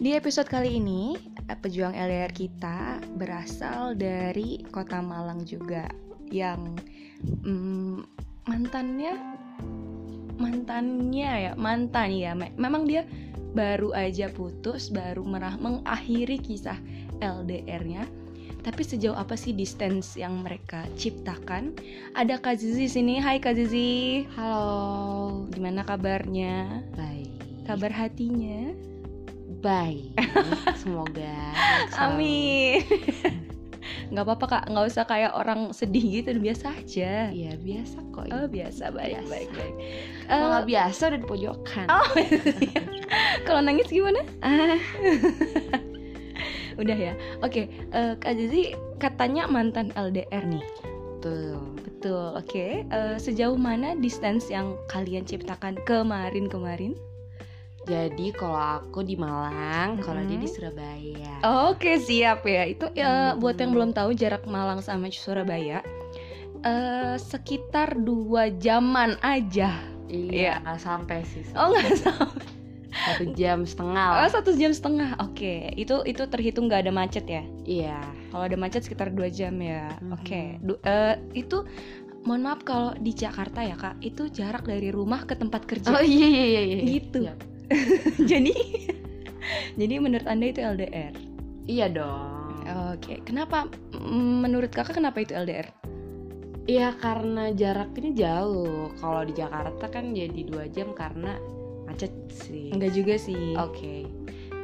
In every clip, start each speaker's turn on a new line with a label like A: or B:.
A: Di episode kali ini, pejuang LDR kita berasal dari kota Malang juga yang mm, mantannya mantannya ya mantan ya me- memang dia baru aja putus baru merah mengakhiri kisah LDR-nya tapi sejauh apa sih distance yang mereka ciptakan ada Kak Zizi sini Hai Kak Zizi
B: Halo,
A: gimana kabarnya
B: baik.
A: kabar hatinya
B: baik. Semoga selalu-
A: Amin. nggak apa-apa kak, nggak usah kayak orang sedih gitu, biasa aja.
B: Iya, biasa kok.
A: Oh biasa, baik,
B: Biasa.
A: baik, baik.
B: Kalau
A: Eh,
B: biasa udah di pojokan.
A: Oh, iya. kalau nangis gimana?
B: Ah,
A: Udah ya. Oke, eh, kak Zizi katanya mantan LDR nih.
B: Betul.
A: Betul. Oke, Eh, sejauh mana distance yang kalian ciptakan kemarin-kemarin?
B: Jadi kalau aku di Malang, kalau dia di
A: Mhm.
B: Surabaya.
A: Oke siap ya itu ya,
B: Hmm.
A: buat yang belum tahu jarak Malang sama Surabaya eh, sekitar dua jaman aja. iya.
B: Iya, nggak sampai sih.
A: Oh nggak
B: Satu jam setengah.
A: Oh,
B: lah.
A: satu jam setengah. Oke, itu itu terhitung nggak ada macet ya?
B: Iya.
A: Kalau ada macet sekitar dua jam ya.
B: Mhm.
A: Oke, Du- eh, itu mohon maaf kalau di Jakarta ya kak, itu jarak dari rumah ke tempat
B: Oh
A: kerja
B: iya iya iya. iya.
A: gitu.
B: Iya.
A: jadi, jadi menurut anda itu LDR?
B: Iya dong.
A: Oke, kenapa? m- Menurut kakak kenapa itu LDR?
B: Iya karena jaraknya jauh. Kalau di Jakarta kan jadi dua jam karena macet sih.
A: Enggak juga sih.
B: Oke.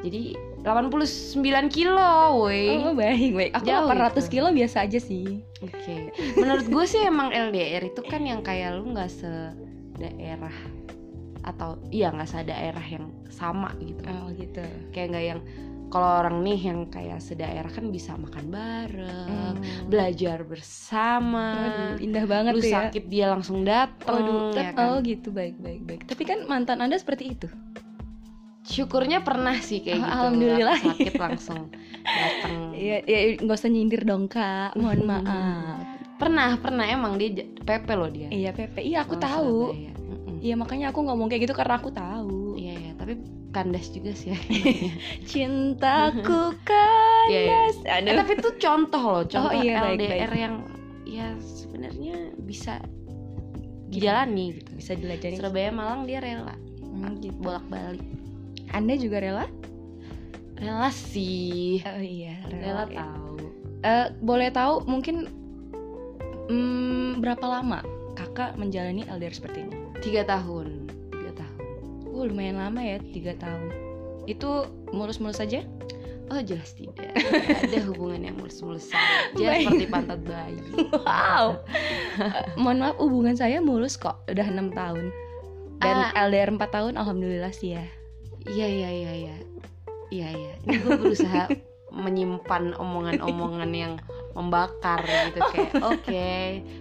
B: Jadi 89 kilo, woi.
A: Oh baik baik. Aku
B: Jauh
A: 800
B: itu.
A: kilo biasa aja sih.
B: Oke. Menurut gue sih emang LDR itu kan yang kayak lu nggak sedaerah atau iya nggak sedaerah yang sama gitu.
A: Oh gitu.
B: Kayak nggak yang kalau orang nih yang kayak sedaerah kan bisa makan bareng,
A: Hmm.
B: belajar bersama.
A: Aduh, indah banget
B: Lu
A: tuh ya.
B: sakit dia langsung dateng
A: Waduh, tet-
B: ya
A: oh
B: kan?
A: gitu baik baik baik. Tapi kan mantan anda seperti itu.
B: Syukurnya pernah sih kayak gitu.
A: Alhamdulillah.
B: nggak sakit langsung dateng.
A: Iya, ya, nggak usah nyindir dong kak. Mohon maaf.
B: Pernah, pernah emang dia j- pepe loh dia.
A: Iya Pepe, iya aku
B: Orang
A: tahu.
B: Surabaya. ya. Mm-mm.
A: Iya makanya aku ngomong kayak gitu karena aku tahu.
B: Iya, iya, tapi kandas juga sih. ya.
A: Cintaku
B: Iya, iya.
A: kandas.
B: Eh,
A: Aduh.
B: tapi itu contoh loh, contoh
A: iya,
B: LDR
A: baik, baik.
B: yang ya sebenarnya bisa dijalani gitu.
A: Bisa dilajari.
B: Surabaya Malang dia rela
A: Hmm, gitu.
B: bolak-balik.
A: Anda juga rela?
B: Rela sih.
A: Oh iya,
B: Rela
A: ya.
B: tahu.
A: Eh, boleh tahu mungkin hmm, berapa lama kakak menjalani LDR seperti ini?
B: Tiga tahun, tiga tahun.
A: Uh, lumayan lama ya, tiga tahun. Itu mulus-mulus saja?
B: Oh jelas tidak. Tidak Ada hubungan yang mulus-mulus saja
A: Baik.
B: seperti pantat bayi.
A: Wow. Eh, Mohon maaf hubungan saya mulus kok, udah enam tahun. Dan LDR 4 tahun alhamdulillah sih ya.
B: Iya iya iya iya iya iya. Ini gue berusaha menyimpan omongan-omongan yang membakar gitu kayak oke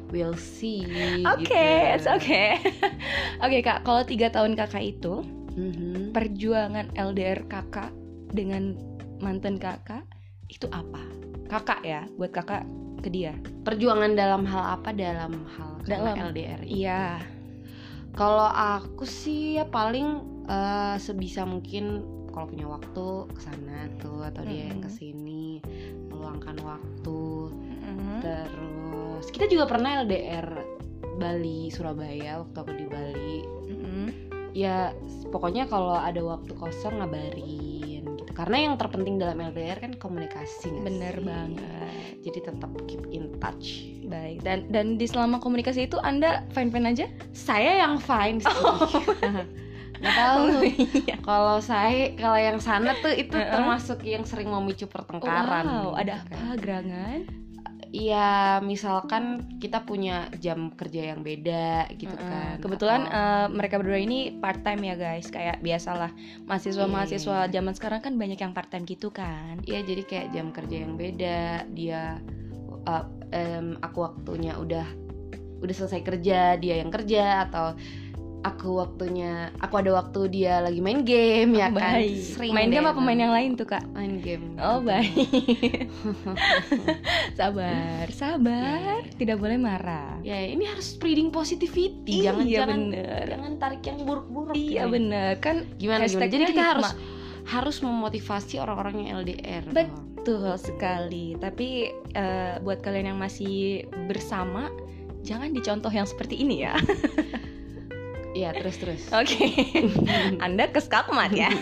B: we'll see.
A: Oke,
B: gitu.
A: it's okay. Oke Kak, kalau tiga tahun Kakak itu
B: Mhm.
A: perjuangan LDR Kakak dengan mantan Kakak itu apa? Kakak ya, buat Kakak ke dia.
B: Perjuangan dalam hal apa dalam hal karena
A: Dalam.
B: LDR?
A: Iya.
B: Kalau aku sih ya paling eh, sebisa mungkin kalau punya waktu kesana tuh atau dia yang
A: Mhm.
B: kesini meluangkan waktu
A: Mm-hmm.
B: Terus kita juga pernah LDR Bali Surabaya waktu aku di Bali.
A: Mm-mm.
B: Ya s- pokoknya kalau ada waktu kosong ngabarin gitu. Karena yang terpenting dalam LDR kan komunikasi. nggak
A: Bener
B: sih?
A: banget.
B: Jadi tetap keep in touch.
A: Baik. Dan dan di selama komunikasi itu Anda fine-fine aja?
B: Saya yang fine sih. Nggak tahu.
A: Oh. iya.
B: Kalau saya kalau yang sana tuh itu
A: Heeh.
B: termasuk yang sering memicu pertengkaran.
A: Wow,
B: gitu
A: ada
B: kan.
A: apa gerangan?
B: Iya, misalkan kita punya jam kerja yang beda gitu
A: Mm-mm.
B: kan.
A: Kebetulan
B: Atau-
A: eh, mereka berdua ini part time ya guys, kayak biasalah mahasiswa-mahasiswa
B: Iya.
A: zaman sekarang kan banyak yang part time gitu kan.
B: Iya jadi kayak jam kerja yang beda dia uh, em, aku waktunya udah udah selesai kerja dia yang kerja atau aku waktunya aku ada waktu dia lagi main game ya
A: Oh,
B: kan
A: Baik. main
B: deh Gitu.
A: game apa main
B: emang.
A: yang lain tuh kak?
B: main game
A: Oh baik. sabar, sabar.
B: Iya.
A: Tidak boleh marah.
B: ya ini harus spreading positivity jangan
A: iya
B: jangan
A: bener.
B: jangan tarik yang buruk-buruk
A: Iya
B: gitu.
A: bener kan
B: gimana gimana
A: Hashtagnya
B: jadi kita
A: hikmah.
B: harus harus memotivasi orang-orang yang LDR
A: Bet- Betul sekali. Tapi eh, buat kalian yang masih bersama, jangan dicontoh yang seperti ini ya.
B: ya terus terus
A: Oke. Anda ke skakmat ya.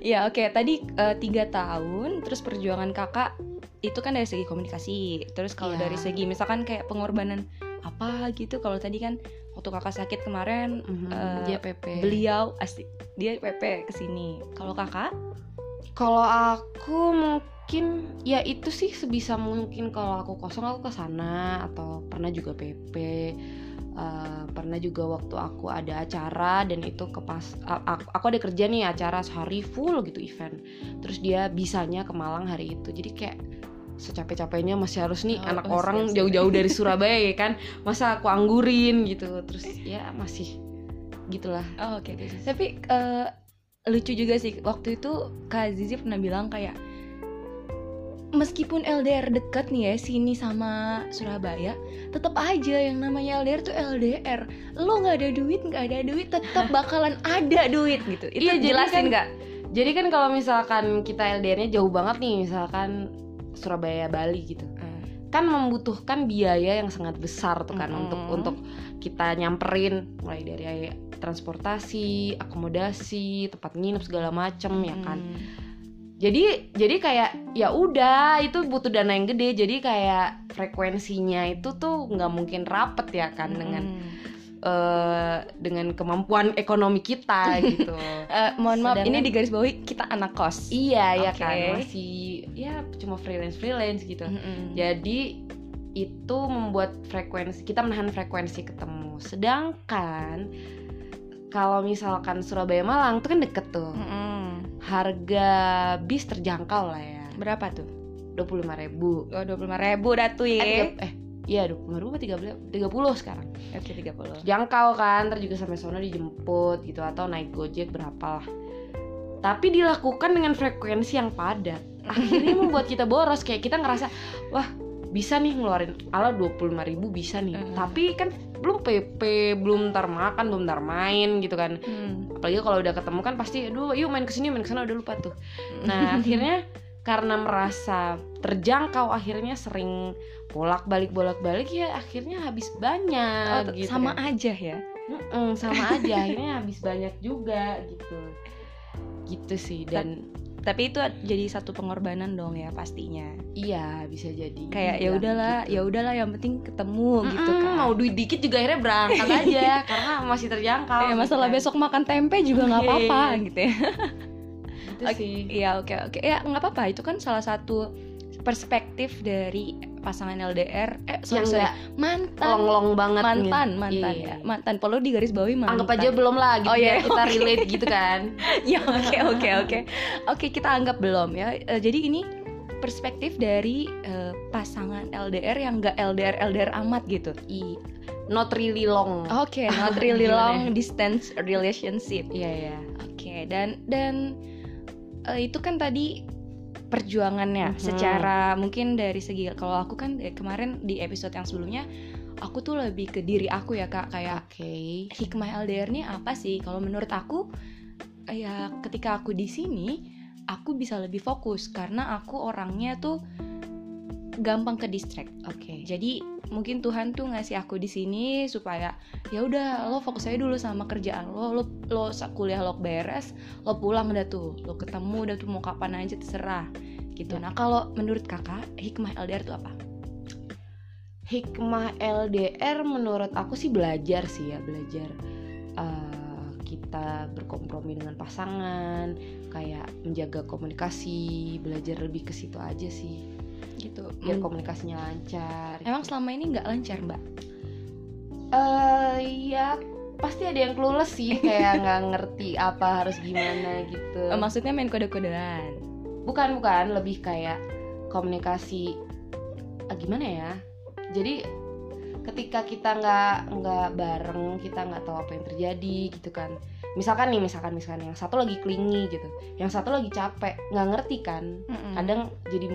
A: Ya oke. Tadi eh, tiga tahun. Terus perjuangan kakak itu kan dari segi komunikasi. Terus kalau
B: Iya.
A: dari segi misalkan kayak pengorbanan apa gitu. Kalau tadi kan waktu kakak sakit kemarin,
B: Mhm,
A: Eh,
B: dia PP
A: beliau asik dia PP kesini. Kalau kakak,
B: kalau aku mungkin ya itu sih sebisa mungkin kalau aku kosong aku ke sana atau pernah juga PP Eh, pernah juga waktu aku ada acara dan itu ke pas a- aku, aku ada kerja nih acara sehari full gitu event terus dia bisanya ke Malang hari itu jadi kayak secapek-capeknya masih harus nih
A: Oh,
B: anak
A: oh,
B: orang
A: siap, siap.
B: jauh-jauh dari Surabaya ya kan masa aku anggurin gitu terus ya masih gitulah
A: oh, oke.
B: Gitu sih.
A: Tapi eh, lucu juga sih waktu itu Kak Zizi pernah bilang kayak meskipun LDR deket nih ya sini sama Surabaya, tetap aja yang namanya LDR tuh LDR. Lo nggak ada duit, nggak ada duit, tetap bakalan ada duit gitu. Itu
B: Iya, jadi
A: jelasin
B: kan-
A: nggak?
B: Jadi kan kalau misalkan kita LDR-nya jauh banget nih, misalkan Surabaya Bali gitu. Kan membutuhkan biaya yang sangat besar tuh kan
A: Mm-mm.
B: untuk untuk kita nyamperin mulai dari transportasi, akomodasi, tempat nginep segala macem ya kan.
A: Hmm.
B: Jadi jadi kayak ya udah itu butuh dana yang gede. Jadi kayak frekuensinya itu tuh nggak mungkin rapet ya kan dengan
A: Hmm.
B: eh, dengan kemampuan ekonomi kita gitu.
A: Eh, mohon maaf, ini
B: Sedangkan-
A: di garis bawahi kita anak kos.
B: Iya ya
A: Oke. Hmm.
B: kan masih ya cuma freelance freelance gitu.
A: Mm-mm.
B: Jadi itu membuat frekuensi kita menahan frekuensi ketemu. Sedangkan kalau misalkan Surabaya Malang itu kan deket tuh.
A: Mm-mm.
B: Harga bis terjangkau lah ya.
A: Berapa tuh?
B: 25.000 ribu.
A: Oh, 25 ribu dah tuh ya.
B: Eh, tiga- eh iya 25 ribu apa 30 30 sekarang.
A: Oke, 30.
B: Jangkau kan, ntar juga sampai sono dijemput gitu atau naik Gojek berapa lah. Tapi dilakukan dengan frekuensi yang padat. akhirnya membuat kita boros kayak kita ngerasa wah bisa nih ngeluarin ala 25.000 ribu bisa nih
A: Mm.
B: tapi kan belum PP belum ntar makan belum ntar main gitu kan
A: Hmm.
B: apalagi kalau udah ketemu kan pasti aduh yuk main kesini main kesana udah lupa tuh nah akhirnya karena merasa terjangkau akhirnya sering bolak balik bolak balik ya akhirnya habis banyak
A: Oh,
B: gitu
A: sama
B: kan.
A: aja ya.
B: Mm-mm, sama aja akhirnya habis banyak juga gitu gitu sih dan
A: Tapi itu jadi satu pengorbanan dong ya pastinya.
B: iya bisa jadi
A: Kayak ya
B: Iya,
A: udahlah,
B: gitu.
A: ya udahlah yang penting ketemu gitu
B: Mm-mm,
A: kan.
B: mau duit dikit juga akhirnya berangkat aja karena masih terjangkau
A: Ya,
B: gitu
A: masalah
B: kan.
A: besok makan tempe juga nggak
B: Iya,
A: apa-apa
B: iya,
A: gitu ya.
B: Gitu
A: Oke,
B: sih.
A: Iya, oke oke. Ya nggak apa-apa, itu kan salah satu perspektif dari pasangan LDR eh
B: yang
A: sorry, sorry.
B: nggak
A: mantan
B: long-long banget
A: mantan
B: nih.
A: mantan
B: Iya.
A: ya mantan perlu digaris bawahi mantan
B: anggap aja belum lah gitu
A: Oh, iya,
B: biar kita
A: oke.
B: relate gitu kan
A: ya oke oke oke oke kita anggap belum ya Eh, jadi ini perspektif dari eh, pasangan LDR yang nggak LDR LDR amat gitu
B: I not really long
A: oke not really
B: Gimana
A: long distance relationship
B: iya iya
A: oke dan dan eh, itu kan tadi perjuangannya
B: Mhm.
A: secara mungkin dari segi kalau aku kan eh, kemarin di episode yang sebelumnya aku tuh lebih ke diri aku ya kak kayak
B: oke
A: hikmah LDR nih apa sih? Kalau menurut aku, ya ketika aku di sini, aku bisa lebih fokus karena aku orangnya tuh gampang ke distract.
B: oke
A: Jadi mungkin Tuhan tuh ngasih aku di sini supaya ya udah lo fokus aja dulu sama kerjaan lo, lo lo sa- kuliah lo beres, lo pulang udah tuh, lo ketemu udah tuh mau kapan aja terserah gitu.
B: Ya.
A: Nah kalau menurut kakak hikmah LDR tuh apa?
B: hikmah LDR menurut aku sih belajar sih ya belajar eh, kita berkompromi dengan pasangan kayak menjaga komunikasi belajar lebih ke situ aja sih
A: Gitu.
B: biar
A: Hmm.
B: komunikasinya lancar
A: Emang selama ini nggak lancar mbak?
B: eh ya pasti ada yang clueless sih kayak nggak ngerti apa harus gimana gitu
A: Eh, Maksudnya main kode-kodean.
B: bukan bukan lebih kayak komunikasi ah, gimana ya jadi ketika kita nggak nggak bareng kita nggak tahu apa yang terjadi gitu kan misalkan nih misalkan misalkan yang satu lagi klingi gitu yang satu lagi capek nggak ngerti kan kadang jadi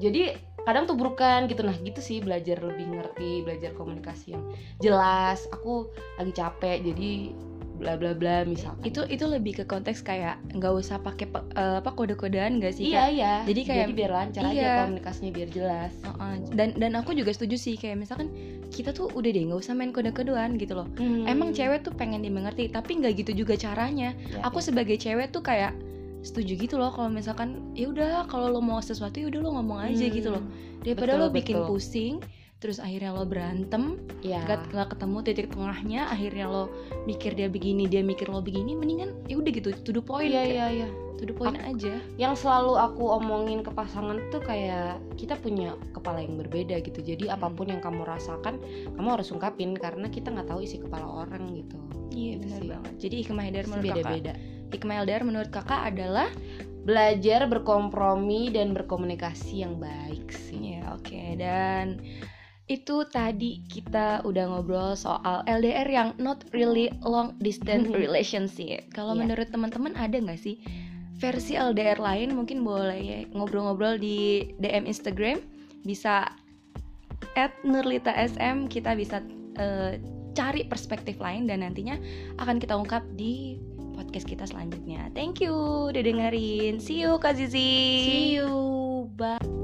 B: jadi kadang tubrukan gitu nah gitu sih belajar lebih ngerti belajar komunikasi yang jelas aku lagi capek jadi bla bla bla misalkan
A: itu itu lebih ke konteks kayak nggak usah pakai pe- eh, apa kode-kodean nggak sih
B: iya iya
A: jadi kayak-
B: biar lancar aja
A: iya.
B: komunikasinya biar jelas
A: Kak? Uh-uh. dan dan aku juga setuju sih kayak misalkan kita tuh udah deh nggak usah main kode-kodean gitu loh
B: Hmm.
A: emang cewek tuh pengen dimengerti tapi nggak gitu juga caranya aku sebagai cewek tuh kayak setuju gitu loh kalau misalkan ya udah kalau lo mau sesuatu ya udah lo ngomong aja gitu loh daripada
B: Hmm. Betul,
A: lo bikin
B: betul.
A: pusing terus akhirnya lo berantem
B: ya
A: nggak nggak ketemu titik tengahnya akhirnya lo mikir dia begini dia mikir lo begini mendingan ya udah gitu to the point
B: iya
A: kayak,
B: iya iya
A: to the point aja
B: yang selalu aku omongin ke pasangan tuh kayak kita punya kepala yang berbeda gitu jadi
A: Hmm.
B: apapun yang kamu rasakan kamu harus ungkapin karena kita nggak tahu isi kepala orang gitu
A: iya
B: Gitu
A: benar
B: sih.
A: banget jadi hikmah LDR menurut
B: beda
A: kakak
B: beda
A: hikmah LDR menurut kakak adalah
B: belajar berkompromi dan berkomunikasi yang baik sih
A: ya oke dan itu tadi kita udah ngobrol soal LDR yang not really long distance relationship. Kalau
B: Iya.
A: menurut teman-teman ada nggak sih versi LDR lain? Mungkin boleh ya ngobrol-ngobrol di DM Instagram. Bisa at Nurlita SM kita bisa eh, cari perspektif lain dan nantinya akan kita ungkap di podcast kita selanjutnya. Thank you udah dengerin. See you Kak Zizi.
B: see you bye